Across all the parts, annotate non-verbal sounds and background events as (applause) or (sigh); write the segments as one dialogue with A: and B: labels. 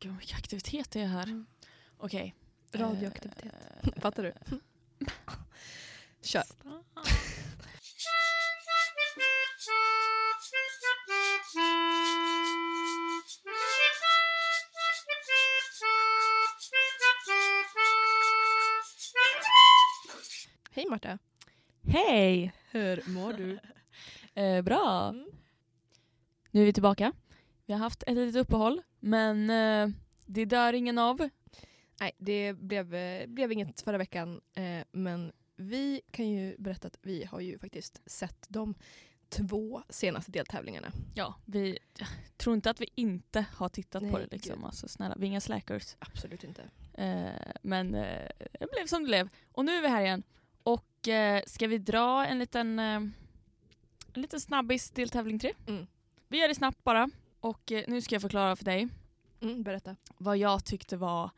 A: Gud, vilken aktivitet det är här.
B: Mm.
A: Okej.
B: Radioaktivitet.
A: Eh, (laughs)
B: Fattar du? (laughs) Kör. Hej Marta.
A: Hej!
B: Hur mår du?
A: (laughs) Eh, bra.
B: Mm.
A: Nu är vi tillbaka. Vi har haft ett litet uppehåll, men eh, det dör ingen av.
B: Nej, det blev, eh, blev inget förra veckan. Eh, men vi kan ju berätta att vi har ju faktiskt sett de två senaste deltävlingarna.
A: Ja, vi jag tror inte att vi inte har tittat på
B: Nej,
A: det. Liksom.
B: gud.
A: Alltså, snälla, vi är inga slackers.
B: Absolut inte.
A: Eh, men eh, det blev som det blev. Och nu är vi här igen. Och eh, ska vi dra en liten, eh, en liten snabbis till tävling tre?
B: Mm.
A: Vi gör det snabbt bara. Och eh, nu ska jag förklara för dig
B: Mm, berätta.
A: vad jag tyckte var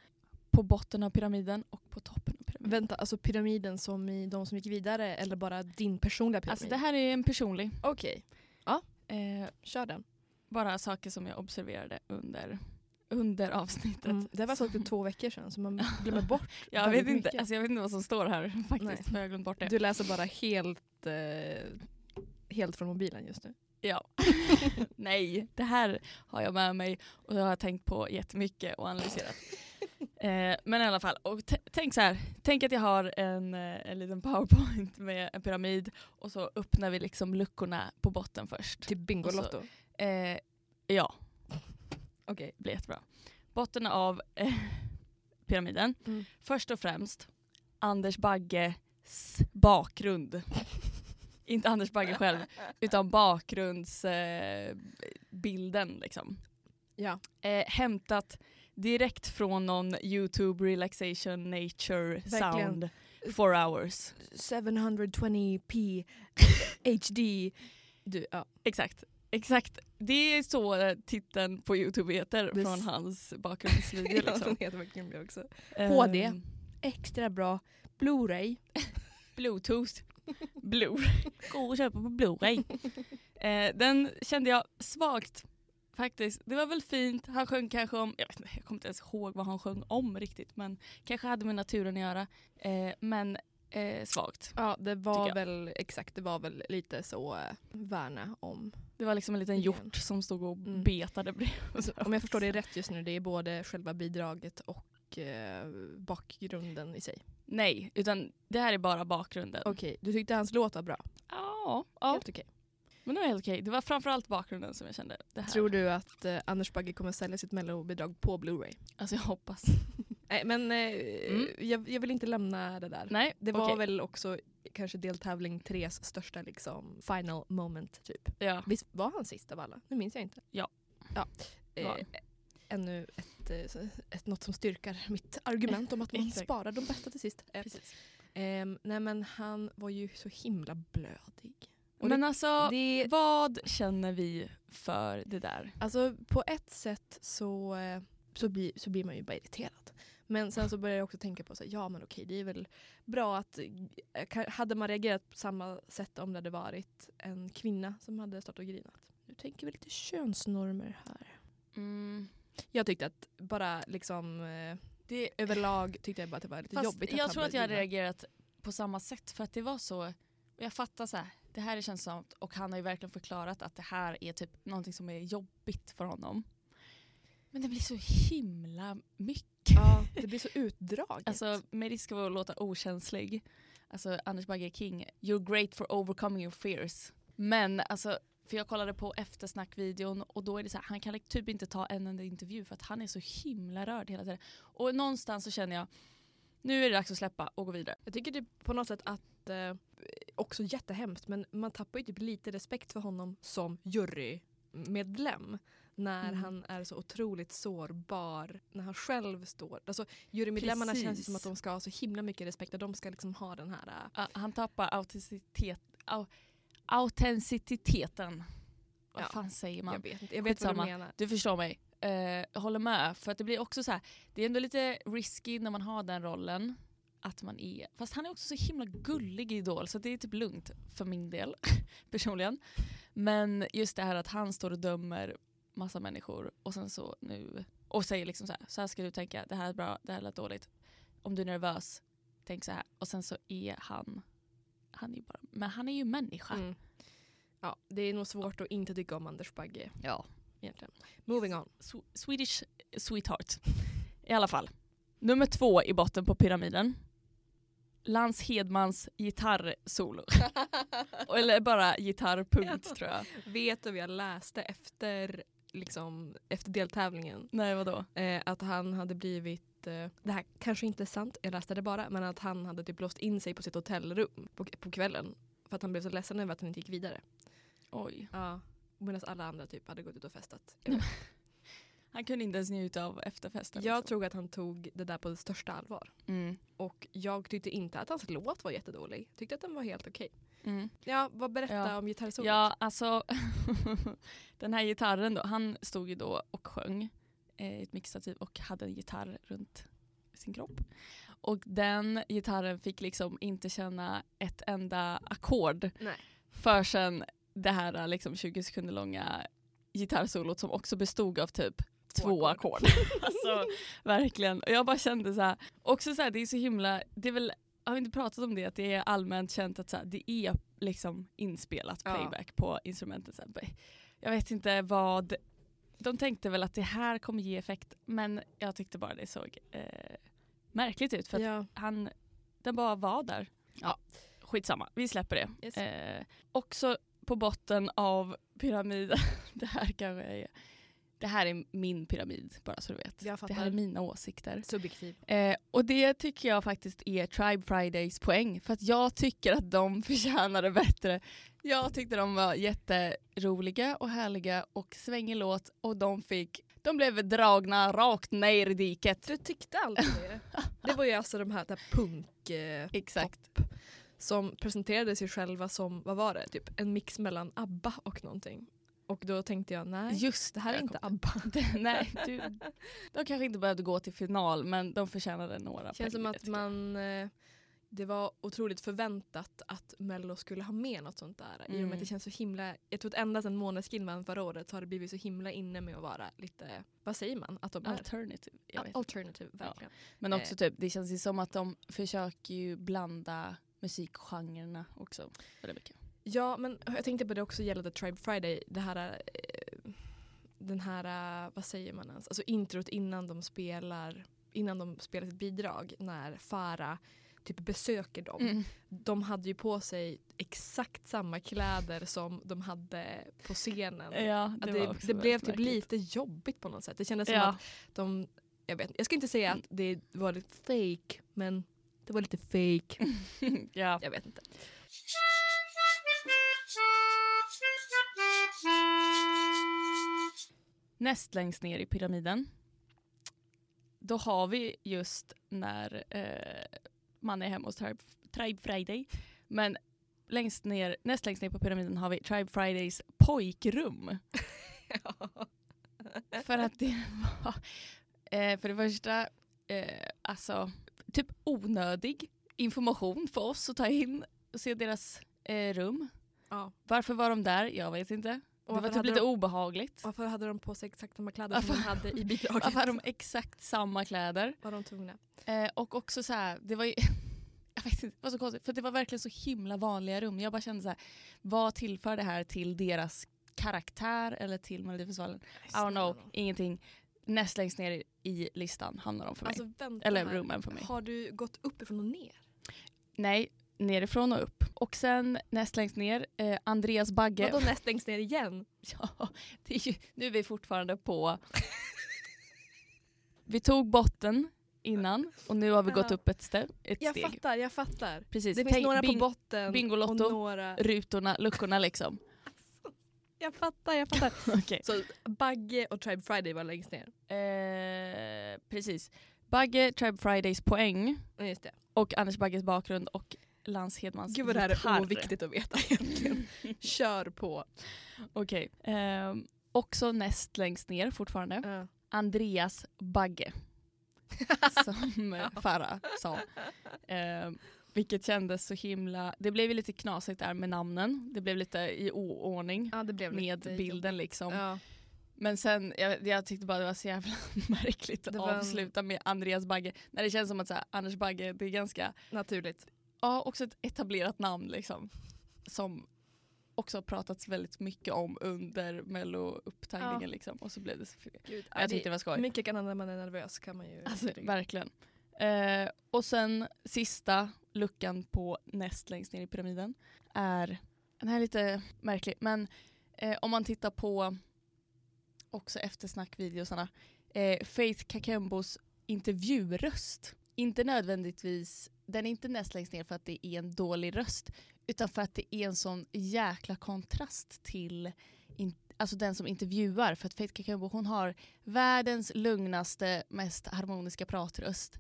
A: på botten av pyramiden och på toppen av pyramiden.
B: Vänta, alltså pyramiden som i de som gick vidare eller bara din personliga pyramid?
A: Alltså det här är en personlig.
B: Okej,
A: Eh,
B: kör den.
A: bara saker som jag observerade under, under avsnittet.
B: Mm. Det här var sagt för två veckor sedan
A: (laughs)
B: så man glömmer bort.
A: Jag
B: väldigt
A: vet, inte,
B: mycket.
A: alltså jag vet inte vad som står här faktiskt,
B: Nej.
A: för jag har glömt bort det.
B: Du läser bara helt, eh, helt från mobilen just nu.
A: Ja. (laughs) Nej, det här har jag med mig och jag har tänkt på jättemycket och
B: (laughs)
A: analyserat. eh, men i alla fall, och t- tänk så här. Tänk att jag har en, eh, en liten powerpoint med en pyramid och så öppnar vi liksom luckorna på botten först.
B: Till Bingolotto.
A: Eh, ja,
B: alltså, Okej.
A: blir jättebra. Botten av eh, pyramiden.
B: Mm.
A: Först och främst Anders Bagges bakgrund. Inte Anders Bagge själv, utan bakgrundsbilden. Eh, bilden, liksom.
B: Ja.
A: eh, hämtat direkt från någon YouTube relaxation nature
B: Verkligen.
A: sound four hours.
B: 720p HD. Du, (laughs) ja.
A: Exakt. Exakt. Det är så eh, titeln på Youtube heter
B: Det s-
A: från hans bakgrundsvideo.
B: (laughs)
A: liksom.
B: heter verkligen det också. HD.
A: Ehm,
B: Extra bra Blu-ray.
A: Bluetooth. (laughs) Blu-ray. Gå och köpa på
B: (laughs)
A: Blu-ray. eh, den kände jag svagt faktiskt. Det var väl fint. Han sjöng kanske om, jag, vet inte, jag kommer inte ens ihåg vad han sjöng om riktigt men kanske hade med naturen att göra. Eh, men eh, svagt.
B: Ja, det
A: Tycker
B: var
A: jag.
B: väl exakt, det var väl lite så eh, värna (laughs) om.
A: Det var liksom en liten
B: Lite
A: hjort
B: grann.
A: som stod och
B: Mm.
A: betade bredvid.
B: Alltså, Om jag förstår det rätt just nu, det är både själva bidraget och eh, bakgrunden i sig.
A: (laughs) Nej, utan det här är bara bakgrunden.
B: Okej, du tyckte hans låt var bra?
A: Ja, ja,
B: Helt okej.
A: men det var helt okej. Det var framförallt bakgrunden som jag kände. Det här.
B: Tror du att eh, Anders Bagge kommer sälja sitt mellobidrag på Blu-ray?
A: Alltså jag hoppas.
B: Nej, men eh,
A: Mm.
B: jag, jag vill inte lämna det där.
A: Nej,
B: Det var
A: okej.
B: väl också kanske deltävling tres största liksom, final moment typ.
A: Ja.
B: Visst var han sist av alla? Nu minns jag inte.
A: Ja.
B: ja.
A: Det var
B: Eh, ännu ett, eh, ett, något som styrkar mitt argument om att man
A: (laughs) Exakt.
B: sparar de bästa till sist. Eh,
A: Precis.
B: ehm, nej men han var ju så himla blödig. Och
A: Men alltså,
B: det,
A: Vad känner vi för det där?
B: Alltså på ett sätt så, eh, så, blir, så blir man ju bara irriterad. Men sen så börjar jag också tänka på så här, ja men okej det är väl bra att, eh, ka- hade man reagerat på samma sätt om det hade varit en kvinna som hade stått och grinat. Nu tänker vi lite könsnormer här.
A: Mm,
B: Jag tyckte att bara liksom eh,
A: Det,
B: överlag tyckte jag bara att det var lite
A: fast
B: jobbigt.
A: jag
B: han
A: tror att jag hade
B: började grina.
A: reagerat på samma sätt för att det var så. Jag fattar så här, det här är känslosamt och han har ju verkligen förklarat att det här är typ någonting som är jobbigt för honom. Men det blir så himla mycket.
B: Ja, det blir så utdraget.
A: Alltså med risk av att låta okänslig. Alltså Anders Bagge är King, you're great for overcoming your fears. Men alltså, för jag kollade på eftersnackvideon och då är det så här, han kan typ inte ta en enda intervju för att han är så himla rörd hela tiden. Och någonstans så känner jag, nu är det dags att släppa och gå vidare.
B: Jag tycker det på något sätt att, eh, också jättehemskt, men man tappar ju typ lite respekt för honom som jurymedlem. När
A: Mm.
B: han är så otroligt sårbar, när han själv står... Alltså, jurymedlemmarna känns ju
A: Precis.
B: som att de ska ha så himla mycket respekt och de ska liksom ha den här... eh,
A: Ja, Ah, han tappar autenticitet, au, autenticiteten. Vad
B: Ja,
A: fan säger man?
B: jag vet inte, jag vet
A: Skitsamma.
B: vad du menar.
A: Du förstår mig. Eh, jag håller med. För att det blir också så här, det är ändå lite risky när man har den rollen. Att man är, fast han är också så himla gullig i Idol så det är typ lugnt för min del (laughs) personligen. Men just det här att han står och dömer massa människor och sen så nu och säger liksom så här, så här ska du tänka, det här är bra, det här lät dåligt. Om du är nervös, tänk så här. Och sen så är han, han är ju bara, men han är ju människa.
B: Mm. Ja, det är nog svårt att inte tycka om Anders Bagge
A: Ja.
B: egentligen. Moving
A: (laughs)
B: on.
A: Sw- Swedish sweetheart. I alla fall. Nummer två i botten på pyramiden. Lans Hedmans gitarrsolo. (laughs) Eller bara gitarrpunkt
B: Ja.
A: tror jag.
B: Vet du vad jag läste efter, liksom, efter deltävlingen?
A: Nej vadå?
B: Eh, att han hade blivit, eh, det här kanske inte är sant, jag läste det bara, men att han hade typ låst in sig på sitt hotellrum på, på kvällen. För att han blev så ledsen över att han inte gick vidare.
A: Oj.
B: Ja. Medan alla andra typ hade gått ut och festat.
A: (laughs) Han kunde inte ens njuta av efterfesten. liksom.
B: Jag tror att han tog det där på det största allvar.
A: Mm.
B: Och jag tyckte inte att hans låt var jättedålig. Tyckte att den var helt okej.
A: Mm.
B: Ja, vad berätta
A: Ja.
B: om gitarrsolot.
A: Ja, alltså (laughs) den här gitarren då, han stod ju då och sjöng eh, i ett mixtativ och hade en gitarr runt sin kropp. Och den gitarren fick liksom inte känna ett enda ackord
B: Nej.
A: förrän det här liksom 20 sekunder långa gitarrsolot som också bestod av typ två ackord. (laughs) alltså verkligen. Och jag bara kände så här, också så här, det är så himla, det är väl, jag har inte pratat om det, att det är allmänt känt att så här, det är liksom inspelat
B: Ja.
A: playback på instrumentet. Så här, jag vet inte vad, de tänkte väl att det här kommer ge effekt, men jag tyckte bara det såg eh, märkligt ut för att
B: ja.
A: han, den bara var där.
B: Ja.
A: Skitsamma, vi släpper det.
B: Yes.
A: Eh, också på botten av pyramiden, (laughs) det här kanske är, det här är min pyramid bara så du vet.
B: Jag
A: Det
B: fattar.
A: här är mina åsikter.
B: Subjektiv.
A: Eh, och det tycker jag faktiskt är Tribe Fridays poäng. För att jag tycker att de (laughs) förtjänade bättre. Jag tyckte de var jätteroliga och härliga och svängig låt och de fick de blev dragna rakt ner i diket.
B: Du tyckte aldrig (laughs) det? Det var ju alltså de här, det här punk eh,
A: Exakt.
B: som presenterade sig själva som, vad var det, typ en mix mellan ABBA och någonting. Och då tänkte jag nej,
A: Just
B: det här är
A: jag
B: inte
A: kom- (laughs)
B: ABBA. (laughs)
A: Nej, du, de kanske inte behövde gå till final men de förtjänade några
B: Känns som
A: poäng,
B: att
A: tycker jag.
B: man, eh, det var otroligt förväntat att Mello skulle ha med något sånt där. I och med
A: Mm.
B: att det känns så himla, jag tror att ända sedan Måneskin vann förra året så har det blivit så himla inne med att vara lite, vad säger man att de är?
A: Alternative. Jag vet.
B: Alternative, verkligen.
A: Men
B: eh.
A: också typ, det känns ju som att de försöker ju blanda musikgenrerna också. Väldigt mycket.
B: Ja, men jag tänkte på det också gällande Tribe Friday. Det här, eh, den här, eh, vad säger man ens, alltså introt innan de spelar, innan de spelar sitt bidrag när Farah typ besöker dem.
A: Mm.
B: De hade ju på sig exakt samma kläder som de hade på scenen.
A: Ja,
B: Att
A: det,
B: det
A: var också
B: det blev
A: väldigt
B: typ
A: märkligt.
B: lite jobbigt på något sätt. Det kändes som
A: Ja.
B: att
A: (laughs)
B: de, jag vet inte, jag ska inte säga att det var lite fake men det var lite fake.
A: Mm. ja. (laughs)
B: Jag vet inte.
A: Näst längst ner i pyramiden. Då har vi just när eh, man är hemma hos Tribe, Tribe Friday. Men längst ner, näst längst ner på pyramiden har vi Tribe Fridays (laughs) pojkrum. För att det var, eh, för det första, eh, alltså typ onödig information för oss att ta in och se deras eh, rum.
B: Ja.
A: Varför var de där? Jag vet inte.
B: Och
A: det
B: varför
A: var typ
B: hade
A: lite
B: de-
A: obehagligt.
B: Varför hade de på sig exakt samma
A: (laughs)
B: kläder
A: Varför-
B: som de hade i bidraget?
A: Varför hade de exakt samma kläder?
B: Var de tvungna?
A: Eh, och också så här, det var ju, (laughs) jag vet inte, det var så konstigt för det var verkligen så himla vanliga rum. Jag bara kände så här, vad tillför det här till deras karaktär eller till Melodifestivalen? I don't know, ingenting. Näst längst ner i- i listan hamnar de för mig.
B: Alltså vänta
A: eller
B: här.
A: rummen för mig.
B: Har du gått uppifrån och ner?
A: Nej, nerifrån och upp. Och sen näst längst ner, eh, Andreas Bagge.
B: Vadå näst längst ner igen?
A: (laughs) Ja, det är ju, nu är vi fortfarande på... vi tog botten innan och nu har vi gått
B: Ja.
A: upp ett, ste- ett
B: Jag
A: steg.
B: fattar, jag fattar.
A: Precis.
B: Det finns
A: Tänk
B: några
A: bing-
B: på botten
A: Bingolotto.
B: och några...
A: rutorna, luckorna
B: (laughs)
A: liksom.
B: Jag fattar, jag
A: (laughs)
B: fattar.
A: Okej.
B: Så Bagge och Tribe Friday var längst ner.
A: Eh, precis. Bagge, Tribe Fridays poäng
B: Ja, Just det.
A: och Anders Bagges bakgrund och Lans Hedmans
B: Gud vad det här är
A: Alltså, gitarr.
B: oviktigt att
A: (laughs)
B: veta egentligen. Kör på.
A: Okej. Ehm, också näst längst ner fortfarande.
B: Ja.
A: Andreas
B: (laughs)
A: Bagge. som eh, Farah sa. Eh, vilket kändes så himla... Det blev ju lite knasigt där med namnen. Det blev lite i oordning
B: Ja, det blev
A: med
B: lite
A: bilden liksom.
B: jobbigt. Ja.
A: Men sen, jag, jag tyckte bara det var så jävla (laughs) märkligt att
B: Det var en-
A: avsluta med Andreas Bagge. När det känns som att så här, Anders Bagge, det är ganska,
B: Naturligt.
A: ja också ett etablerat namn liksom. Som också har pratats väldigt mycket om under mello-upptaggningen
B: Ja.
A: liksom. Och så blev det så fel. Alltså,
B: Gud,
A: Jag tyckte det var skoj.
B: Mycket kan hända när man är nervös kan man ju...
A: Alltså
B: herregud.
A: verkligen. Eh, och sen sista luckan på näst längst ner i pyramiden är, den här är lite märklig, men eh, om man tittar på också eftersnackvideosarna, eh, Faith Kakembos intervjuröst, inte nödvändigtvis, den är inte näst längst ner för att det är en dålig röst, utan för att det är en sån jäkla kontrast till in, alltså den som intervjuar, för att Faith Kakembo hon har Världens lugnaste, mest harmoniska pratröst.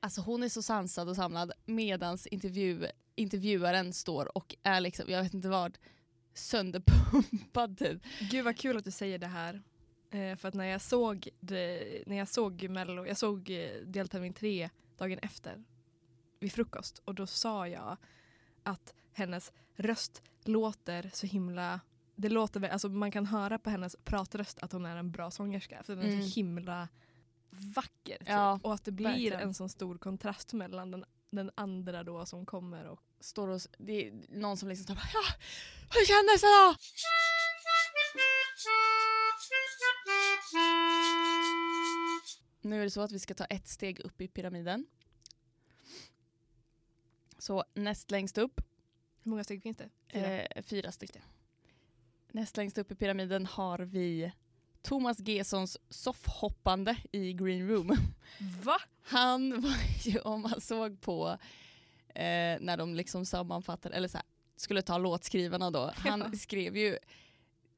A: Alltså hon är så sansad och samlad medans intervju, intervjuaren står och är liksom, jag vet inte vad, sönderpumpad typ.
B: Gud vad kul att du säger det här. Eh, för att när jag såg, det, när jag såg Mello, jag såg eh, deltävling tre dagen efter vid frukost och då sa jag att hennes röst låter så himla det låter, väl- alltså man kan höra på hennes pratröst att hon är en bra sångerska för den är
A: Mm.
B: så himla vacker. typ.
A: Ja,
B: och att det blir
A: verkligen.
B: en sån stor kontrast mellan den, den andra då som kommer och
A: Står och, s- det är någon som liksom tar bara, ja, hur kändes det då? Nu är det så att vi ska ta ett steg upp i pyramiden. Så näst längst upp
B: hur många steg finns det? Fyra.
A: Eh, fyra stycken. Näst längst upp i pyramiden har vi Thomas Gessons soffhoppande i Green Room.
B: Va?
A: Han var (laughs) ju, om man såg på eh, när de liksom sammanfattade, eller så här, skulle ta låtskrivarna då, han
B: Ja.
A: skrev ju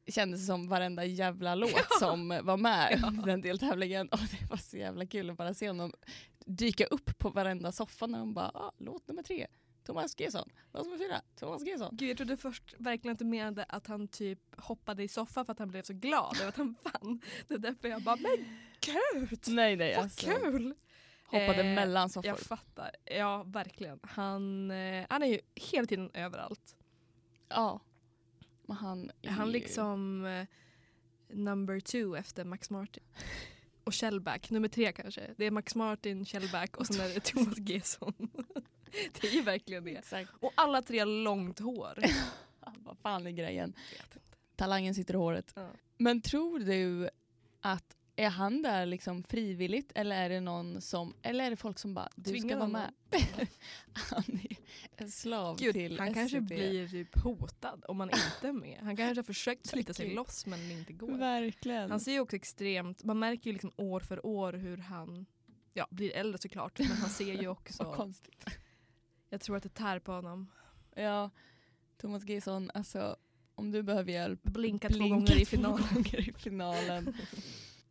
A: kändes som varenda jävla
B: (laughs)
A: låt som var med i den deltävlingen och det var så jävla kul att bara se honom dyka upp på varenda soffa när de bara ah, låt nummer tre, Thomas Gesson, låt nummer fyra, Thomas Gesson.
B: Gud jag trodde först verkligen att du menade att han typ hoppade i soffan för att han blev så glad över att han vann. Det är därför jag bara men gud
A: Nej nej
B: vad
A: alltså.
B: kul!
A: Hoppade
B: Eh,
A: mellan soffor.
B: Jag fattar, ja verkligen. Han, eh, han är ju hela tiden överallt.
A: Ja. Men han, är
B: Han
A: ju-
B: liksom eh, number two efter Max Martin. Och Shellback, nummer tre kanske. Det är Max Martin, Shellback och sen är det Thomas Gesson. (laughs) Det är ju verkligen det.
A: Exakt.
B: Och alla tre har
A: (laughs)
B: långt hår.
A: Vad fan är grejen? Talangen sitter i håret.
B: Ja.
A: Men tror du att är han där liksom frivilligt eller är det någon som, eller är det folk som bara du
B: Tvingar
A: ska vara med? (laughs)
B: honom.
A: han är en slav till
B: Gud, han kanske
A: SVT.
B: blir typ hotad om man inte är med. Han kanske har försökt slita sig
A: Verkligen.
B: loss men det inte går.
A: Verkligen.
B: Han ser ju också extremt, man märker ju liksom år för år hur han ja, blir äldre såklart men han ser
A: (laughs)
B: ju
A: Vad
B: också,
A: konstigt.
B: jag tror att det tär på honom.
A: Ja, Thomas Gesson, alltså om du behöver hjälp
B: Blinka, två
A: Blinka
B: gånger i
A: två
B: finalen.
A: gånger i finalen. (laughs)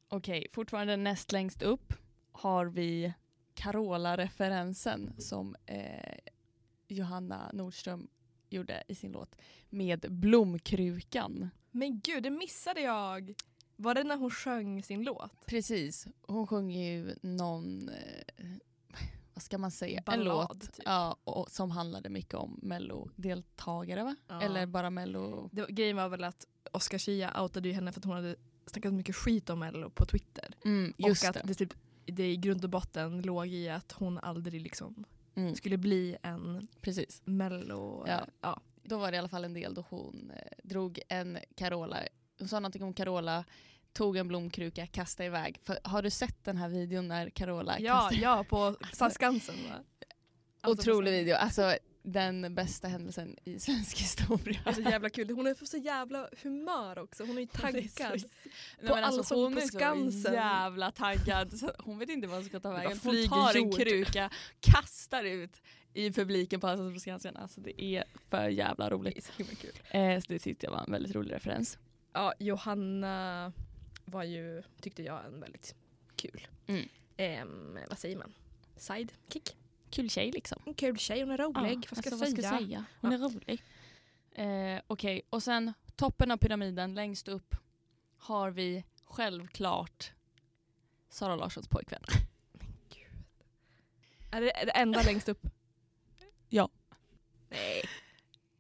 A: Okej, fortfarande näst längst upp har vi Carola-referensen som eh, Johanna Nordström gjorde i sin låt med blomkrukan.
B: Men gud, det missade jag! Var det när hon sjöng sin låt?
A: Precis, hon sjöng ju någon, eh, vad ska man säga,
B: Ballad,
A: en låt
B: typ.
A: ja, och, som handlade mycket om mellodeltagare va?
B: Ja.
A: Eller bara mello...
B: Det, var- grejen var väl att Oscar Schia outade ju henne för att hon hade snackat mycket skit om Mello på Twitter.
A: Mm, just
B: och att
A: det.
B: det, typ, det i grund och botten låg i att hon aldrig liksom
A: Mm,
B: skulle bli en
A: precis.
B: Mello... eh,
A: Ja.
B: Ja.
A: då var det i alla fall en del då hon eh, drog en Carola, hon sa någonting om Carola, tog en blomkruka, kastade iväg. För, har du sett den här videon när Carola
B: Ja,
A: kastar
B: ja, på
A: (laughs)
B: Skansen va? Alltså, på
A: Otrolig
B: Skansen.
A: video, alltså den bästa händelsen i (laughs) svensk historia.
B: Det är så jävla kul. Hon är på så jävla humör också. Hon
A: (laughs)
B: är ju
A: Det är så-
B: taggad.
A: Nej,
B: På
A: men alltså,
B: Allsång
A: hon
B: på
A: är så
B: Skansen.
A: jävla taggad. Så hon vet inte vad hon ska ta
B: bara
A: vägen. Hon
B: flyger
A: tar en
B: jord.
A: kruka, kastar ut i publiken på Allsång på Skansen. Alltså det är för jävla roligt.
B: är så himla kul.
A: Eh, så det tyckte jag var en väldigt rolig referens.
B: Ja, Johanna var ju, tyckte jag, en väldigt kul.
A: Mm.
B: Ehm, vad säger man? Sidekick?
A: Kul tjej liksom.
B: En kul tjej, hon är
A: Ja,
B: rolig. Ah, vad, ska
A: alltså,
B: jag säga?
A: Hon är rolig. Eh, Okej, och sen toppen av pyramiden längst upp har vi självklart Sara Larssons pojkvän.
B: Är det är det enda längst upp?
A: (laughs) Ja.
B: Nej,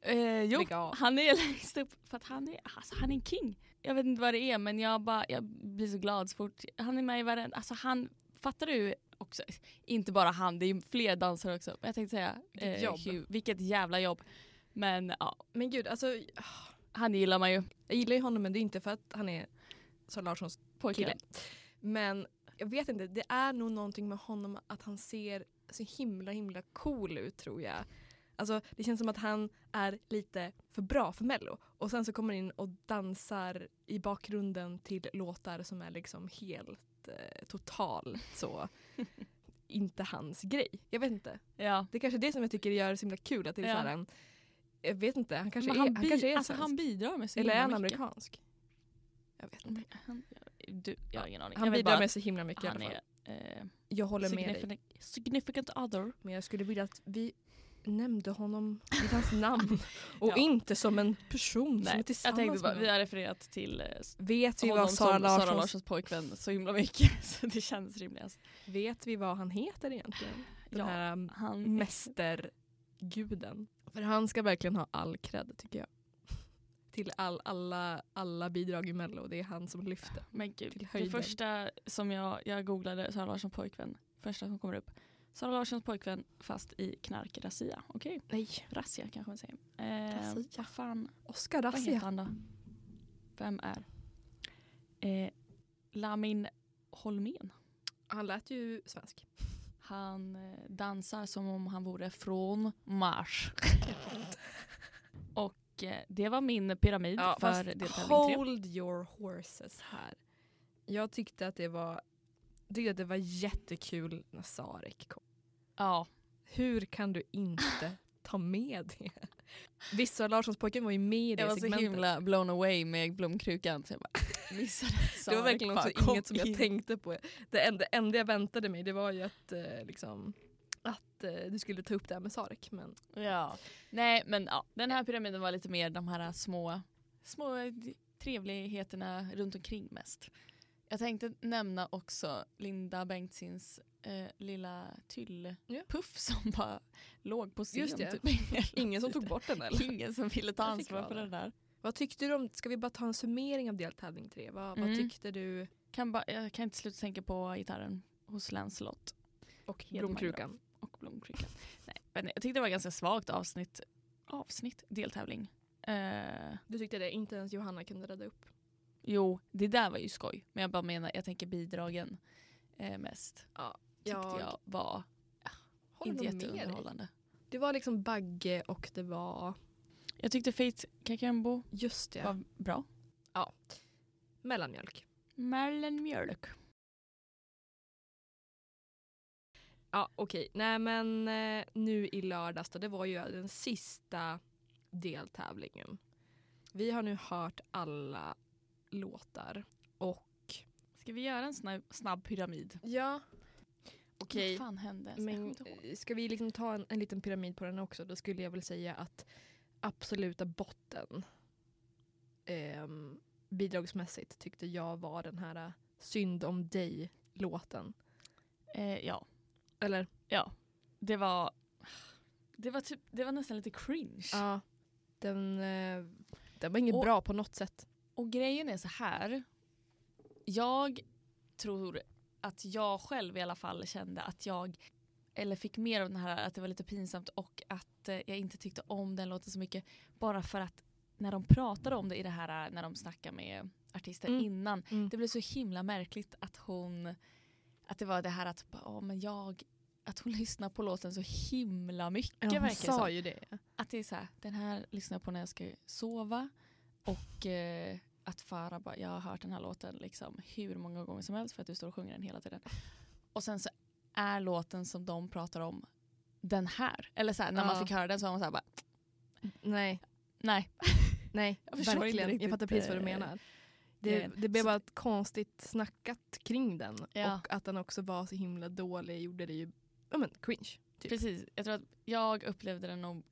A: Eh, jo,
B: lägg
A: (laughs)
B: av.
A: han är längst upp för att han är, alltså, han är en king. Eh, jag vet inte vad det är men jag, bara, jag blir så glad så fort han är med i varenda, alltså han, fattar du också, inte bara han, det är ju fler dansare också. Men jag tänkte säga, eh,
B: Vilket jobb.
A: Hugh, vilket jävla jobb. Men ja,
B: Men gud, alltså
A: han gillar man ju.
B: jag gillar ju honom men det är inte för att han är Sara Larssons
A: Pojken.
B: kille. Men jag vet inte, det är nog någonting med honom att han ser så himla himla cool ut tror jag. Alltså det känns som att han är lite för bra för mello. Och sen så kommer han in och dansar i bakgrunden till låtar som är liksom helt eh, totalt
A: (laughs)
B: så. inte hans grej. Jag vet inte.
A: Ja.
B: Det är kanske det som jag tycker gör det så himla kul att det är
A: Ja.
B: så här, en- jag vet inte, han kanske
A: Men
B: är, han
A: bi-
B: kanske är
A: alltså,
B: svensk.
A: han bidrar med så
B: Eller är han
A: himla mycket.
B: amerikansk? Jag vet inte.
A: Men Han, du, jag har ingen aning.
B: Han
A: jag vet
B: bidrar
A: bara
B: med så himla mycket
A: att
B: i
A: han
B: alla fall.
A: är eh,
B: Jag håller med dig.
A: significant, significant other.
B: Men jag skulle vilja att vi nämnde honom vid
A: (laughs)
B: hans namn och
A: Ja.
B: inte som en person som är
A: Nej, jag
B: tillsammans
A: tänkte bara,
B: med
A: vi
B: honom.
A: har refererat till eh,
B: Vet vi
A: honom
B: vad Sara
A: som Sara
B: Larssons...
A: Larssons pojkvän så himla mycket (laughs) så det känns rimligast.
B: Vet vi vad han heter egentligen? Den
A: Ja.
B: här um,
A: Han,
B: mästerguden. För han ska verkligen ha all cred tycker jag. (laughs) Till all, alla, alla bidrag i Mello, det är han som lyfter.
A: men gud,
B: till
A: det
B: höjden.
A: första som jag, jag googlade Sara Larssons pojkvän, första som kommer upp. Sara Larssons pojkvän fast i knarkrazzia. Okej,
B: Nej,
A: razzia kanske man säger. Eh,
B: Razzia.
A: vad fan
B: Oscar
A: Vad heter
B: Razzia.
A: han då? Vem är? Eh, Lamin Holmén.
B: Han lät ju svensk.
A: Han eh, dansar som om han vore från Mars. Och eh, det var min pyramid för deltävling tre.
B: hold your horses här. Jag tyckte att det var, tyckte att det var jättekul när Sarek kom.
A: Ja,
B: Hur kan du (laughs) inte ta med det? Visst, Sara Larssons pojken var ju med i det
A: jag var så
B: segmentet.
A: himla blown away med blomkrukan så jag bara (laughs) missade
B: det var verkligen också inget som jag tänkte på. Det enda, enda jag väntade mig det var ju att, eh, liksom, att eh, du skulle ta upp det här med Sarek. Men
A: Ja. Nej men ja, den här pyramiden var lite mer de här små, små trevligheterna runt omkring mest. Jag tänkte nämna också Linda Bengtzings eh, lilla
B: Ja.
A: tyllpuff som bara låg på scen.
B: Just det.
A: Typ, hela
B: (laughs) ingen som
A: tiden.
B: tog bort den eller?
A: Ingen som ville ta
B: Jag fick
A: ansvar
B: vara
A: för
B: där.
A: den där.
B: (laughs) Vad tyckte du om, ska vi bara ta en summering av deltävling tre? Vad,
A: Mm.
B: vad tyckte du?
A: Kan bara, jag kan inte sluta tänka på gitarren hos Lancelot
B: Och
A: Hedman
B: Blomkrukan.
A: och Blomkrukan. Nej, men jag tyckte det var ganska svagt avsnitt, avsnitt deltävling. Eh,
B: Du tyckte det? Inte ens Johanna kunde rädda upp.
A: Jo, det där var ju skoj. Men jag bara menar, jag tänker bidragen eh, mest. Tyckte jag, var inte jätteunderhållande.
B: Det var liksom Bagge och det var...
A: Jag tyckte Faith Kakembo
B: Just det.
A: var bra.
B: Mellanmjölk.
A: Merlin Mjölk.
B: Ja okej. Nej men eh, nu i lördags då, det var ju den sista deltävlingen. Vi har nu hört alla låtar. Och...
A: Ska vi göra en snabb, snabb pyramid?
B: Ja. Okej.
A: Vad fan hände? Alltså, Jag kommer
B: Men
A: inte ihåg.
B: eh, ska vi liksom ta en, en liten pyramid på den också? Då skulle jag väl säga att absoluta botten ehm, bidragsmässigt tyckte jag var den här eh, synd om dig-låten.
A: Eh, ja,
B: Eller?
A: ja. Det var... Det var, typ, det var nästan lite cringe.
B: Ja. Den, eh, den var inget
A: Och-
B: bra på något sätt.
A: Och grejen är så här. Jag tror att jag själv i alla fall kände att jag eller fick mer av den här att det var lite pinsamt och att eh, jag inte tyckte om den låten så mycket bara för att när de pratade om det i det här eh, när de snackade med artister
B: Mm.
A: innan
B: Mm.
A: det blev så himla märkligt att hon att det var det här att bara, "Ja, men jag att hon (laughs) lyssnar på låten så himla mycket
B: Ja, hon
A: verkar det som
B: sa ju det.
A: att det är så här, den här lyssnar jag på när jag ska sova och eh, att Farah bara, jag har hört den här låten liksom hur många gånger som helst för att du står och sjunger den hela tiden. Och sen så är låten som de pratar om den här. Eller så här, när man
B: Ja.
A: fick höra den så var man så här bara,
B: Nej,
A: nej.
B: nej.
A: Jag förstår inte
B: verkligen.
A: riktigt,
B: Jag fattar precis vad du
A: eh,
B: menar. Det,
A: grejen.
B: det blev
A: Så-
B: bara ett konstigt snackat kring den.
A: Ja.
B: Och att den också var så himla dålig gjorde det ju ja, men, cringe. Typ.
A: Precis, jag tror att jag upplevde den nog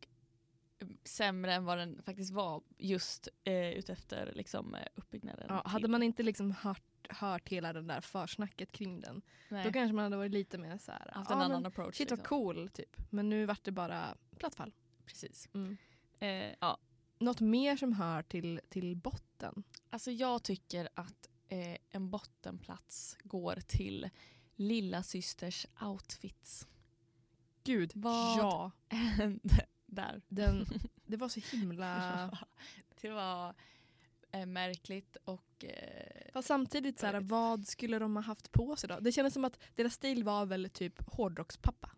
A: eh, sämre än vad den faktiskt var just eh, utefter liksom, eh, uppbyggnaden.
B: Ja,
A: till-
B: hade man inte liksom hört, hört hela den där försnacket kring den
A: nej,
B: då kanske man hade varit lite mer så här,
A: haft en
B: ja,
A: annan
B: men,
A: approach.
B: shit vad
A: liksom.
B: cool typ. Men nu vart det bara plattfall.
A: Precis.
B: Mm.
A: Eh, ja,
B: Något mer som hör till, till botten?
A: Alltså jag tycker att eh, en bottenplats går till lilla systers outfits.
B: Gud,
A: Vad?
B: ja.
A: Där.
B: (laughs) Den, det var så himla...
A: (laughs) Det var eh, märkligt och eh,
B: Fast samtidigt, så här,
A: Väldigt.
B: vad skulle de ha haft på sig då? Det kändes som att deras stil var väl typ hårdrockspappa.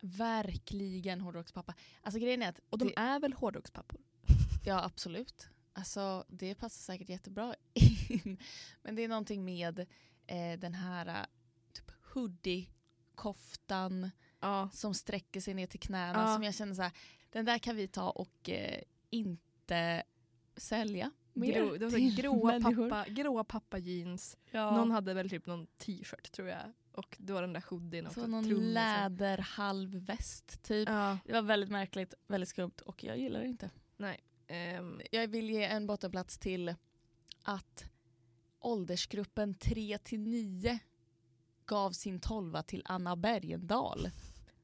A: verkligen hårdrockspappa. Alltså grejen är att,
B: Och de
A: det,
B: är väl hårdrockspappor?
A: ja absolut. Alltså det passar säkert jättebra (laughs) in. Men det är någonting med eh, den här eh, typ hoodie, koftan,
B: Ja.
A: som sträcker sig ner till knäna
B: Ja.
A: som jag känner så här, den där kan vi ta och eh, inte sälja mer
B: Grå, det var så
A: till
B: här gråa,
A: människor.
B: pappa, gråa pappa jeans.
A: Ja.
B: Någon hade väl typ någon t-shirt tror jag. Och då var den där hoodien också.
A: så någon
B: trummor och så.
A: läderhalvväst typ.
B: Ja,
A: Det var väldigt märkligt, väldigt skumt och jag gillar det inte.
B: ehm,
A: Jag vill ge en bottenplats till att åldersgruppen 3 till 9 gav sin tolva till Anna Bergendahl.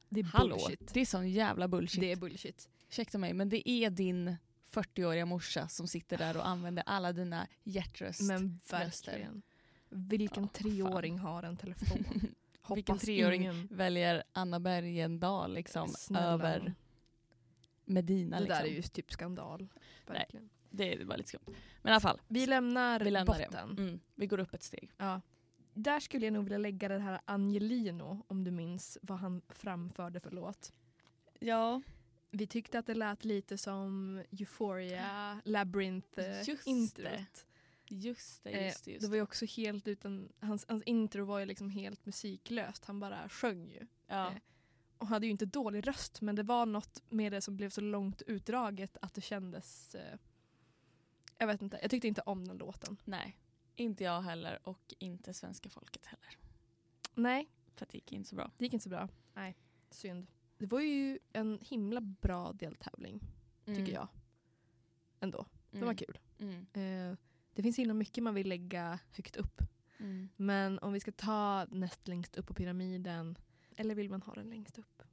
B: det är
A: Hallå,
B: bullshit.
A: det är sån jävla bullshit.
B: Det är bullshit.
A: Ursäkta mig, men det är din 40-åriga morsa som sitter där och använder alla dina hjärtröst.
B: Men
A: röster.
B: verkligen. Vilken
A: Ja,
B: treåring har en (laughs) telefon? Hoppas
A: Vilken treåring
B: ingen-
A: väljer Anna Bergendahl liksom,
B: Snälla nån.
A: över Medina.
B: Det
A: Liksom.
B: där är ju typ skandal.
A: Nej.
B: Verkligen.
A: det, det var lite skumt. Men i alla fall,
B: Vi lämnar,
A: vi lämnar
B: botten.
A: det. Mm, vi går upp ett steg.
B: Ja. Där skulle jag nog vilja lägga det här Angelino, om du minns vad han framförde för låt.
A: Ja,
B: Vi tyckte att det lät lite som Euphoria,
A: Just det.
B: Labyrinth-introt.
A: just det.
B: Eh,
A: Just det, just
B: Det
A: det.
B: var ju också helt utan, hans, hans intro var ju liksom helt musiklöst, han bara sjöng ju.
A: ja.
B: eh, Och hade ju inte dålig röst men det var något med det som blev så långt utdraget att det kändes, eh, jag vet inte, jag tyckte inte om den låten.
A: Nej, inte jag heller och inte svenska folket heller.
B: Nej,
A: För att det gick inte så bra.
B: det gick inte så bra. Nej, synd. Det var ju en himla bra deltävling tycker jag. Ändå, det var kul.
A: Mm.
B: Eh, det finns himla mycket man vill lägga högt upp
A: Mm.
B: Men om vi ska ta näst längst upp på pyramiden, eller vill man ha den längst upp?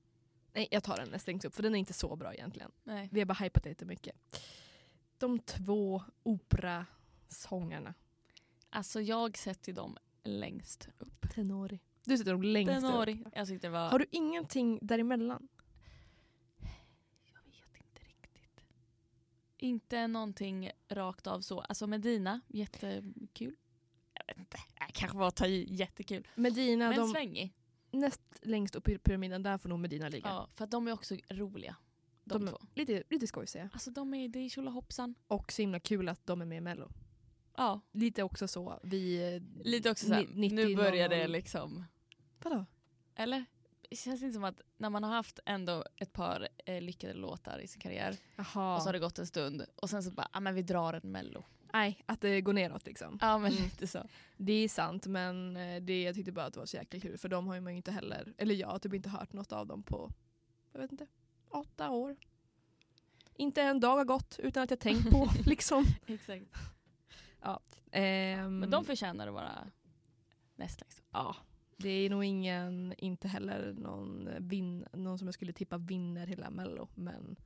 B: Nej, jag tar den näst längst upp för den är inte så bra egentligen.
A: Nej.
B: Vi har bara hypat lite mycket. De två operasångarna.
A: Alltså jag sätter ju dem längst upp.
B: Tenori. Du sätter dem längst upp.
A: Tenori. Jag tyckte det var...
B: Har du ingenting däremellan?
A: Jag vet inte riktigt. Inte någonting rakt av så. Alltså Medina, jättekul. Jag vet inte, jag kanske var att ta i, jättekul.
B: Medina,
A: Men
B: de,
A: svängig.
B: näst längst upp i pyramiden, där får nog Medina ligga.
A: Ja, för att de är också roliga. De,
B: De-
A: två.
B: Lite, lite skojsiga.
A: Alltså de är, det är tjolahoppsan.
B: Och så himla kul att de är med i Mello.
A: Ja,
B: Lite också så, vi...
A: lite också såhär,
B: Ni- 90
A: nu börjar det
B: någon-
A: liksom.
B: Vadå?
A: Eller? Det känns inte som att när man har haft ändå ett par eh, lyckade låtar i sin karriär
B: Jaha.
A: och så har det gått en stund och sen så bara, ah, men vi drar en mello.
B: Nej, att det går neråt liksom.
A: Ja men
B: Mm.
A: lite
B: (laughs)
A: så.
B: Det är sant men eh, det, jag tyckte bara att det var så jäkla kul för de har ju man ju inte heller, eller jag har typ inte hört något av dem på, jag vet inte, åtta år. Inte en dag har gått utan att jag tänkt (laughs) på liksom.
A: Exakt.
B: Ehm,
A: Men de förtjänar att vara näst längst upp.
B: ja, det är nog ingen, inte heller någon, vin, någon som jag skulle tippa vinner hela mello men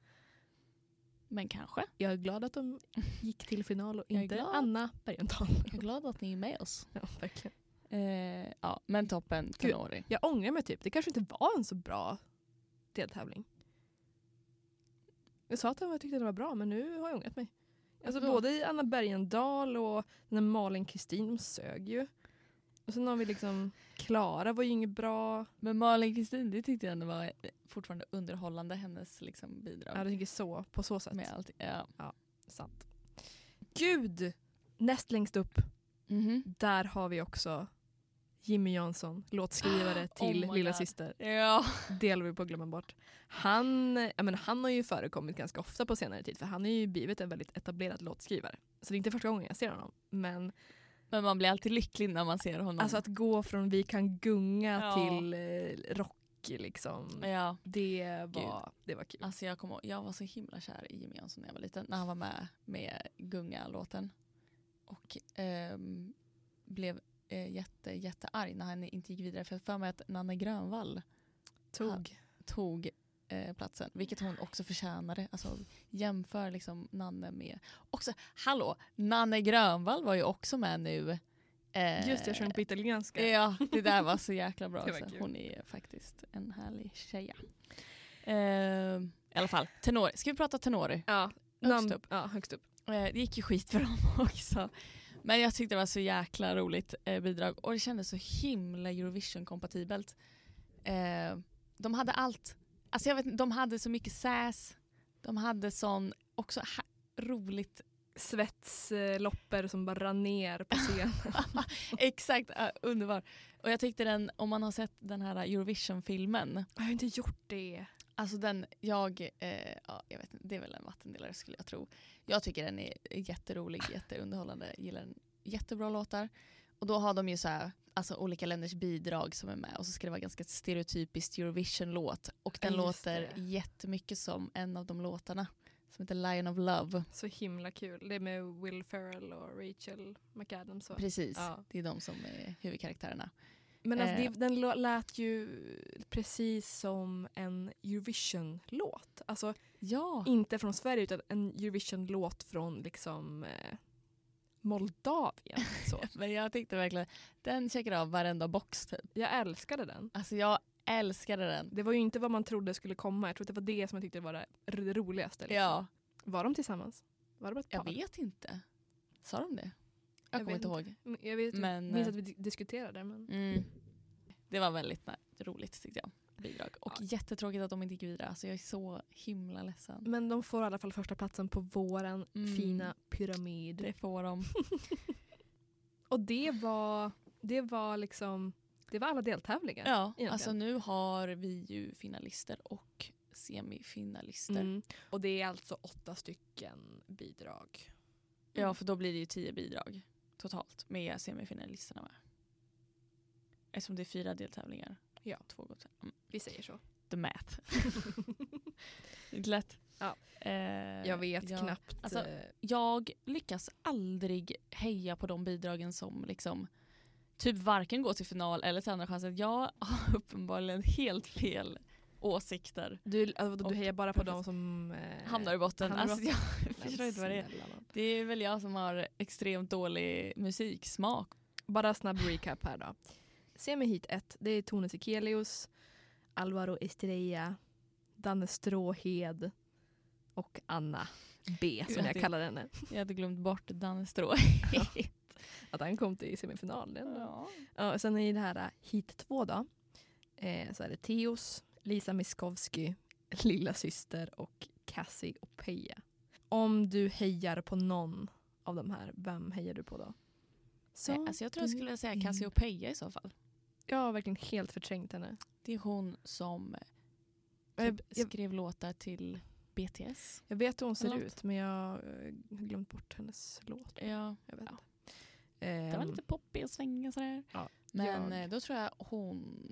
A: Men kanske.
B: jag är glad att de gick till final och
A: Jag är
B: inte
A: glad.
B: Anna Bergendahl. (laughs)
A: Jag är glad att ni är med oss.
B: ja, verkligen.
A: Eh, ja, men toppen tenori.
B: Jag ångrar mig typ, det kanske inte var en så bra deltävling. Jag sa att jag tyckte det var bra men nu har jag ångrat mig. Alltså
A: Vadå?
B: både i Anna Bergendahl och den här Malin Kristin, de sög ju. Och sen har vi liksom Klara var ju inget bra.
A: Men Malin Kristin, det tyckte jag ändå var eh, fortfarande underhållande, hennes liksom, bidrag.
B: Ja, jag tycker så, på så sätt.
A: med allt. Ja.
B: Sant. Gud! Näst längst upp,
A: Mhm.
B: där har vi också Jimmy Jansson,
A: (gasps)
B: låtskrivare till
A: Oh my
B: Lilla
A: God.
B: Syster.
A: ja.
B: Det håller vi på att glömma bort. Han, ja, men han har ju förekommit ganska ofta på senare tid för han har ju blivit en väldigt etablerad låtskrivare. Så det är inte första gången jag ser honom. Men
A: Mm. Men man blir alltid lycklig när man ser honom.
B: alltså att gå från Vi kan gunga
A: Ja.
B: till eh, rock liksom.
A: ja.
B: Det, var, det var kul.
A: Alltså jag, kommer ihåg- jag var så himla kär i Jimmy Jansson när jag var liten, när han var med med Gunga-låten. Och ehm, blev eh, jätte, jättearg när han inte gick vidare. För jag har för mig att Nanne Grönvall
B: Tog.
A: tog eh, platsen. Vilket hon också förtjänade. Alltså, jämför liksom Nanne med... Också, hallå, Nanne Grönvall var ju också med nu. Eh,
B: Just det, jag sjöng på italienska.
A: Ja, det där var så jäkla bra.
B: (laughs) Det var
A: också.
B: kul.
A: Hon är faktiskt en härlig tjeja. Eh, I alla fall, tenor. Ska vi prata tenorer?
B: Ja,
A: Högst
B: namn-
A: upp.
B: Ja, högst upp.
A: Eh, det gick ju skit för dem (laughs) också. Men jag tyckte det var så jäkla roligt eh, bidrag och det kändes så himla Eurovision-kompatibelt. Eh, de hade allt. Alltså jag vet inte, de hade så mycket sass. De hade sån, också ha- roligt. (laughs)
B: Svetslopper som bara rann ner på scen.
A: Exakt, eh, underbar. Och jag tyckte den, om man har sett den här Eurovision-filmen,
B: jag har inte gjort det.
A: Alltså den, jag, eh, ja, jag vet inte, det är väl en vattendelare skulle jag tro. Jag tycker den är jätterolig, jätteunderhållande, gillar den jättebra låtar. Och då har de ju så här, alltså olika länders bidrag som är med och så ska det vara ganska stereotypiskt Eurovision-låt. Och den
B: Ja, just
A: låter
B: det.
A: jättemycket som en av de låtarna som heter Lion of Love.
B: Så himla kul. Det är med Will Ferrell och Rachel McAdams. Och.
A: Precis,
B: Ja.
A: det är de som är huvudkaraktärerna.
B: Men alltså,
A: Eh.
B: det, den lå- lät ju precis som en Eurovision-låt. Alltså
A: Ja,
B: inte från Sverige utan en Eurovision-låt från liksom eh,
A: (laughs)
B: Moldavien. Så.
A: men jag tyckte verkligen, den checkar av varenda box typ.
B: Jag älskade den.
A: Alltså jag älskade den.
B: Det var ju inte vad man trodde skulle komma. Jag tror att det var det som jag tyckte var det r- roligaste. liksom.
A: Ja.
B: Var de tillsammans? Var det bara ett
A: Jag
B: par?
A: vet inte. Sa de det?
B: Jag
A: Jag, kommer
B: vet
A: inte ihåg.
B: Mm, Jag vet,
A: Men,
B: minns
A: eh,
B: att vi di- diskuterade men
A: Mm. Det var väldigt nä- roligt tyckte jag. Bidrag. Och
B: Ja.
A: jättetråkigt att de inte gick vidare. Alltså jag är så himla ledsen.
B: Men de får i alla fall första platsen på våran
A: Mm.
B: fina pyramid.
A: Det får de.
B: Och det var, det var liksom, det var alla deltävlingar.
A: Ja,
B: egentligen.
A: alltså nu har vi ju finalister och semifinalister.
B: Mm. Och det är alltså åtta stycken bidrag.
A: Ja, för då blir det ju tio bidrag totalt med semifinalisterna med. Eftersom det är fyra deltävlingar.
B: Ja.
A: Två går till. Mm.
B: Vi
A: (laughs)
B: säger så.
A: The math. Det är lätt.
B: Ja.
A: Eh,
B: Jag vet
A: ja.
B: knappt.
A: Alltså,
B: eh,
A: jag lyckas aldrig heja på de bidragen som liksom typ varken går till final eller till andra chansen. Jag har (laughs) uppenbarligen helt fel åsikter.
B: du, alltså, vadå,
A: och
B: du hejar bara på de
A: professor-
B: som eh,
A: Hamnar i botten.
B: hamnar i
A: Alltså, jag
B: (laughs) Men
A: förstår inte vad det är.
B: snälla nån.
A: Det är väl jag som har extremt dålig musiksmak.
B: Bara snabb recap här då. Semi hit 1, det är Tone Sekelius, Alvaro Estrella, Danne Stråhed och Anna B som
A: Ja,
B: jag
A: det-
B: kallar
A: (laughs)
B: henne.
A: Jag hade glömt bort Danne Strå.
B: Att han kom till semifinalen.
A: (laughs) Ja.
B: Ja, och sen i det här äh, hit 2 då, eh, så är det Theos, Lisa Miskovsky, (laughs) Lilla Syster och Cassie Opeya. Om du hejar på någon av de här, vem hejar du på då?
A: Nej, Alltså jag tror jag skulle vilja säga Cassiopeia i så fall.
B: Jag har verkligen helt förträngt henne.
A: Det är hon som
B: Jag,
A: typ,
B: jag,
A: skrev låtar till BTS.
B: jag vet hur hon ser
A: Eller något.
B: ut men jag eh, har glömt bort hennes låt.
A: Ja.
B: Jag vet.
A: Ja.
B: inte. Ehm,
A: Den var lite poppig och svängig och sådär.
B: Ja,
A: Men
B: jag-
A: eh, då tror jag hon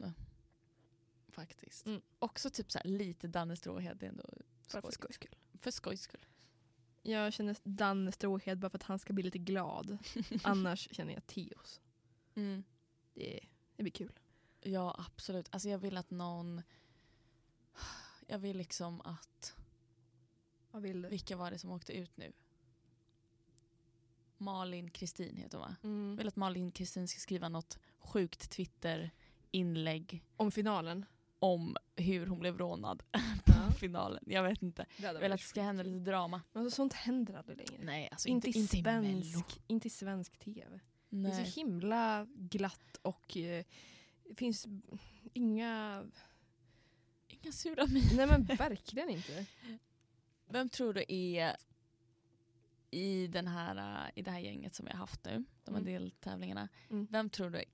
A: faktiskt.
B: Mm.
A: Också typ såhär lite Danne Stråhed det är ändå
B: bara för
A: skojigt.
B: skojs skull.
A: För skojs skull.
B: Jag känner Danne Stråhed bara för att han ska bli lite (laughs) glad. Annars känner jag Theos. Det, det blir kul.
A: Mm. Ja absolut. Alltså jag vill att någon jag vill liksom att,
B: Vad vill du?
A: vilka var det som åkte ut nu? Malin Kristin heter hon va? Jag
B: Mm.
A: vill att Malin Kristin ska skriva något sjukt Twitter-inlägg
B: Om finalen.
A: om hur hon blev rånad på
B: Ja.
A: finalen. Jag vet inte.
B: Det hade
A: Jag vill att
B: varit
A: det ska hända
B: skitkul.
A: lite drama.
B: Men alltså, sånt händer aldrig längre.
A: Nej, alltså
B: inte, i
A: i Mello.
B: svensk, inte i svensk tv. Det är
A: Nej.
B: så himla glatt och eh, det finns inga...
A: Inga sura miner.
B: Nej (laughs) men verkligen inte.
A: Vem tror du är i, den här, eh, i det här gänget som vi har haft nu, de här
B: Mm.
A: deltävlingarna.
B: Mm.
A: Vem tror du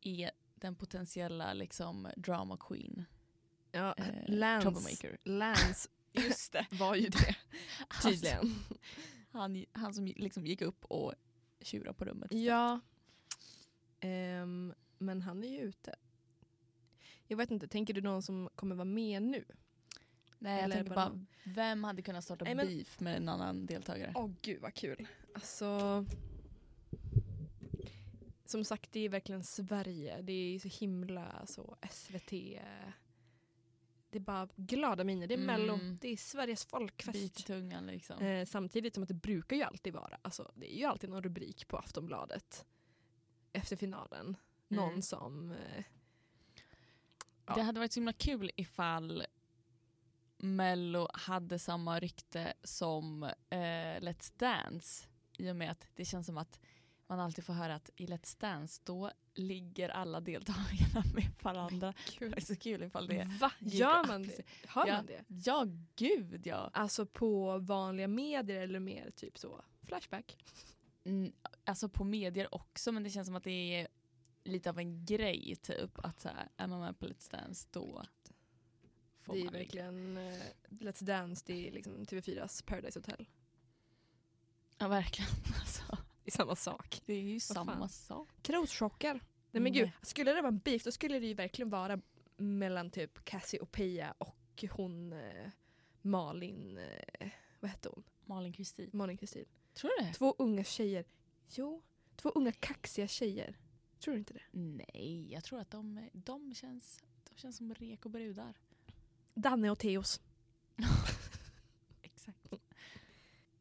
A: är den potentiella liksom, drama queen?
B: Ja,
A: Eh,
B: Ah, Lance,
A: troublemaker.
B: Lance
A: Just (laughs) det.
B: var (laughs) ju det
A: Han-
B: tydligen.
A: Han, han som liksom gick upp och tjurade på rummet.
B: Ja. Ehm, men han är ju ute. Jag vet inte, tänker du någon som kommer vara med nu?
A: Nej, jag
B: Eller
A: tänker
B: Eh, bara-
A: bara, vem hade kunnat starta
B: Nej, men-
A: beef med en annan deltagare?
B: Åh gud vad kul. Alltså. Som sagt det är verkligen Sverige. Det är ju så himla så SVT. det är bara glada miner. Det är
A: Mm.
B: mello, det är Sveriges
A: Bit i
B: folkfest.
A: tungan liksom.
B: Eh, samtidigt som att det brukar ju alltid vara, alltså, det är ju alltid någon rubrik på Aftonbladet efter finalen. Någon
A: Mm.
B: som, eh, ja.
A: Det hade varit så himla kul ifall Mello hade samma rykte som eh, Let's Dance. I och med att det känns som att man alltid får höra att i Let's Dance då ligger alla deltagarna (laughs) med varandra. Det är så kul ifall det
B: va?
A: gick
B: Gör
A: att
B: man det?
A: applicera.
B: Hör
A: Ja.
B: man det?
A: Ja gud ja.
B: Alltså på vanliga medier eller mer typ så, Flashback.
A: Mm, alltså på medier också men det känns som att det är lite av en grej typ att så här, är man med på Let's Dance då får
B: det är
A: man ligga.
B: verkligen eh, Let's Dance, det är liksom TV4s Paradise Hotel.
A: Ja verkligen (laughs) alltså.
B: Det är samma sak.
A: Det är ju
B: Vad fan.
A: samma sak.
B: Troschockar. Nej men gud,
A: Nej.
B: skulle det vara en beef då skulle det ju verkligen vara mellan typ Cassiopeia och hon eh, Malin, eh, vad hette hon?
A: Malin Kristin.
B: Malin Kristin.
A: Tror du det?
B: Två unga tjejer. Jo, två unga kaxiga tjejer. Tror du inte det?
A: Nej, jag tror att de, de, känns, de känns som rek och brudar.
B: Danne och Theos.
A: Exakt.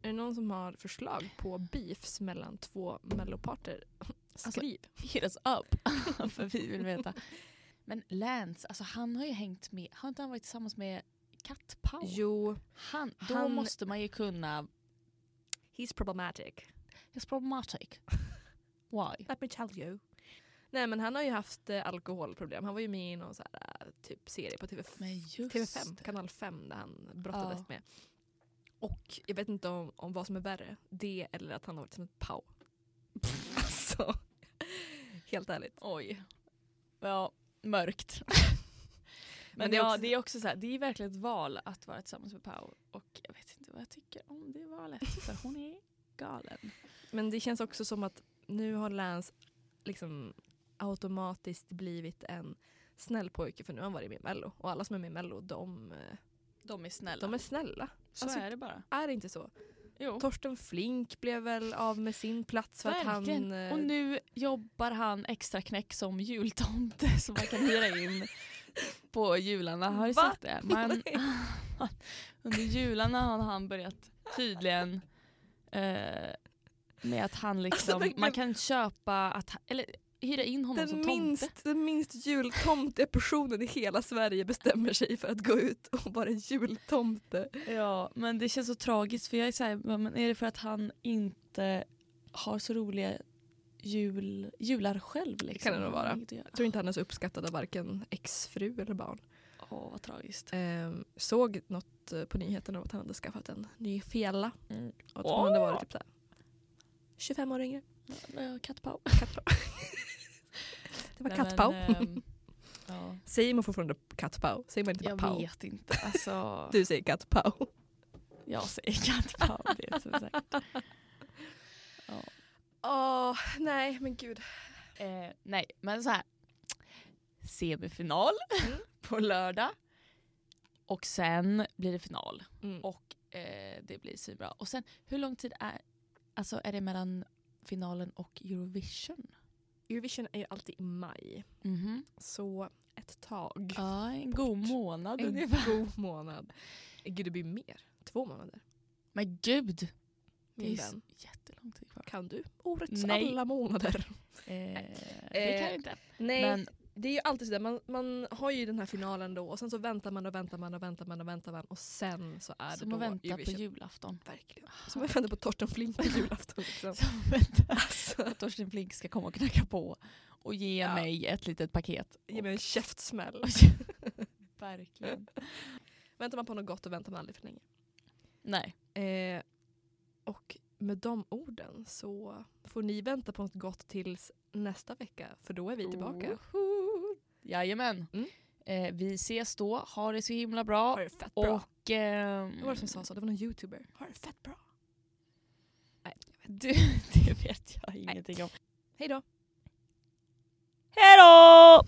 B: Är det någon som har förslag på beefs mellan två melloparter? Skriv.
A: Hit us up, (laughs) för vi vill veta. Men Lance, alltså han har ju hängt med, har inte han varit tillsammans med Kat Powell?
B: jo,
A: Han, då
B: Han-
A: måste man ju kunna,
B: he's problematic.
A: it's problematic. (laughs) Why?
B: Let me tell you. Nej men han har ju haft eh, alkoholproblem. Han var ju med i någon så här, eh, typ serie på TV4.
A: Men just
B: TV5,
A: det.
B: kanal 5 där han brottades
A: Ja.
B: med. Och jag vet inte om, om vad som är värre, det eller att han har varit som ett pau. alltså, helt ärligt.
A: Oj. Ja, (laughs) mörkt. Men,
B: Men det är
A: ja,
B: också-
A: det är också så här, det är verkligen ett val att vara tillsammans med Pau. Och jag vet inte vad jag tycker om det valet, för hon är galen.
B: Men det känns också som att nu har Lance liksom automatiskt blivit en snäll pojke för nu har han varit med i Mello. Och alla som är med i Mello, de, eh,
A: De är snälla.
B: de är snälla.
A: Så
B: alltså-
A: är det bara.
B: Är det inte så?
A: Jo.
B: Torsten Flink blev väl av med sin plats för att han...
A: Verkligen.
B: eh,
A: Och nu jobbar han extra knäck som jultomte som man kan hyra in på jularna. Har du
B: Va?
A: sett det? Man, (laughs) under jularna har han börjat tydligen eh, med att han liksom,
B: verkligen.
A: man kan köpa, att, eller hyra in honom som
B: eh, Den
A: tomte.
B: minst, den minst jultomtiga personen i hela Sverige bestämmer sig för att gå ut och vara jultomte.
A: Ja, men det känns så tragiskt för jag är så här, men är det för att han inte har så roliga jul, jular själv? Liksom?
B: kan det nog vara.
A: Jag
B: Jag tror inte han är så uppskattad av varken exfru eller barn.
A: Åh, vad tragiskt.
B: Ehm, såg något eh, på nyheterna om att han hade skaffat en ny fjälla.
A: Mm.
B: Och att hon hade
A: Åh!
B: varit typ så här 25 år yngre.
A: Ja, Kattpau.
B: Det var kattpau.
A: ehm, (laughs) ja.
B: Säger man fortfarande kattpau? Säger man inte bara
A: Jag
B: pau?
A: vet inte. (laughs) Alltså,
B: Du säger kattpau.
A: jag säger kattpau. Det är så (laughs) säkert. Ja.
B: Åh, nej men gud.
A: Eh, nej, men så här. Semifinal
B: Mm.
A: (laughs) på lördag. Och sen blir det final.
B: Mm.
A: Och eh, det blir svinbra. Och sen, hur lång tid är, alltså, är det mellan finalen och Eurovision?
B: Eurovision är ju alltid i maj.
A: Mhm.
B: Så ett tag. (laughs)
A: Ja, en god månad
B: En
A: ungefär.
B: god månad. Gud det blir mer. Två månader.
A: Men gud, det är
B: Min
A: ju så
B: vän.
A: jättelång tid kvar.
B: Kan du årets
A: Nej.
B: alla månader?
A: det kan
B: Eh,
A: jag inte.
B: (laughs) Nej.
A: Men
B: det är ju alltid sådär, man, man har ju den här finalen då och sen så väntar man och väntar man och väntar man och väntar man och sen så är
A: Som
B: det
A: att
B: då
A: vänta
B: Eurovision.
A: på julafton.
B: Verkligen. (gasps) Som att vänta på Torsten Flink på (laughs) julafton liksom.
A: Som (laughs) vänta
B: Alltså,
A: att Torsten Flink ska komma och knacka på och ge
B: Ja.
A: mig ett litet paket.
B: ge mig en (laughs) käftsmäll.
A: Verkligen.
B: Väntar man på något gott och väntar man aldrig för länge.
A: Nej.
B: Eh, och med de orden så får ni vänta på något gott tills nästa vecka för då är vi tillbaka.
A: Jajamän.
B: Mm.
A: Eh, vi ses då. Ha det så himla bra.
B: Ha det fett bra.
A: och... ehm,
B: Det var det som sa så, det var någon youtuber. Har det fett bra.
A: Du, (laughs) det vet jag ingenting om.
B: Hej då.
A: Hej då!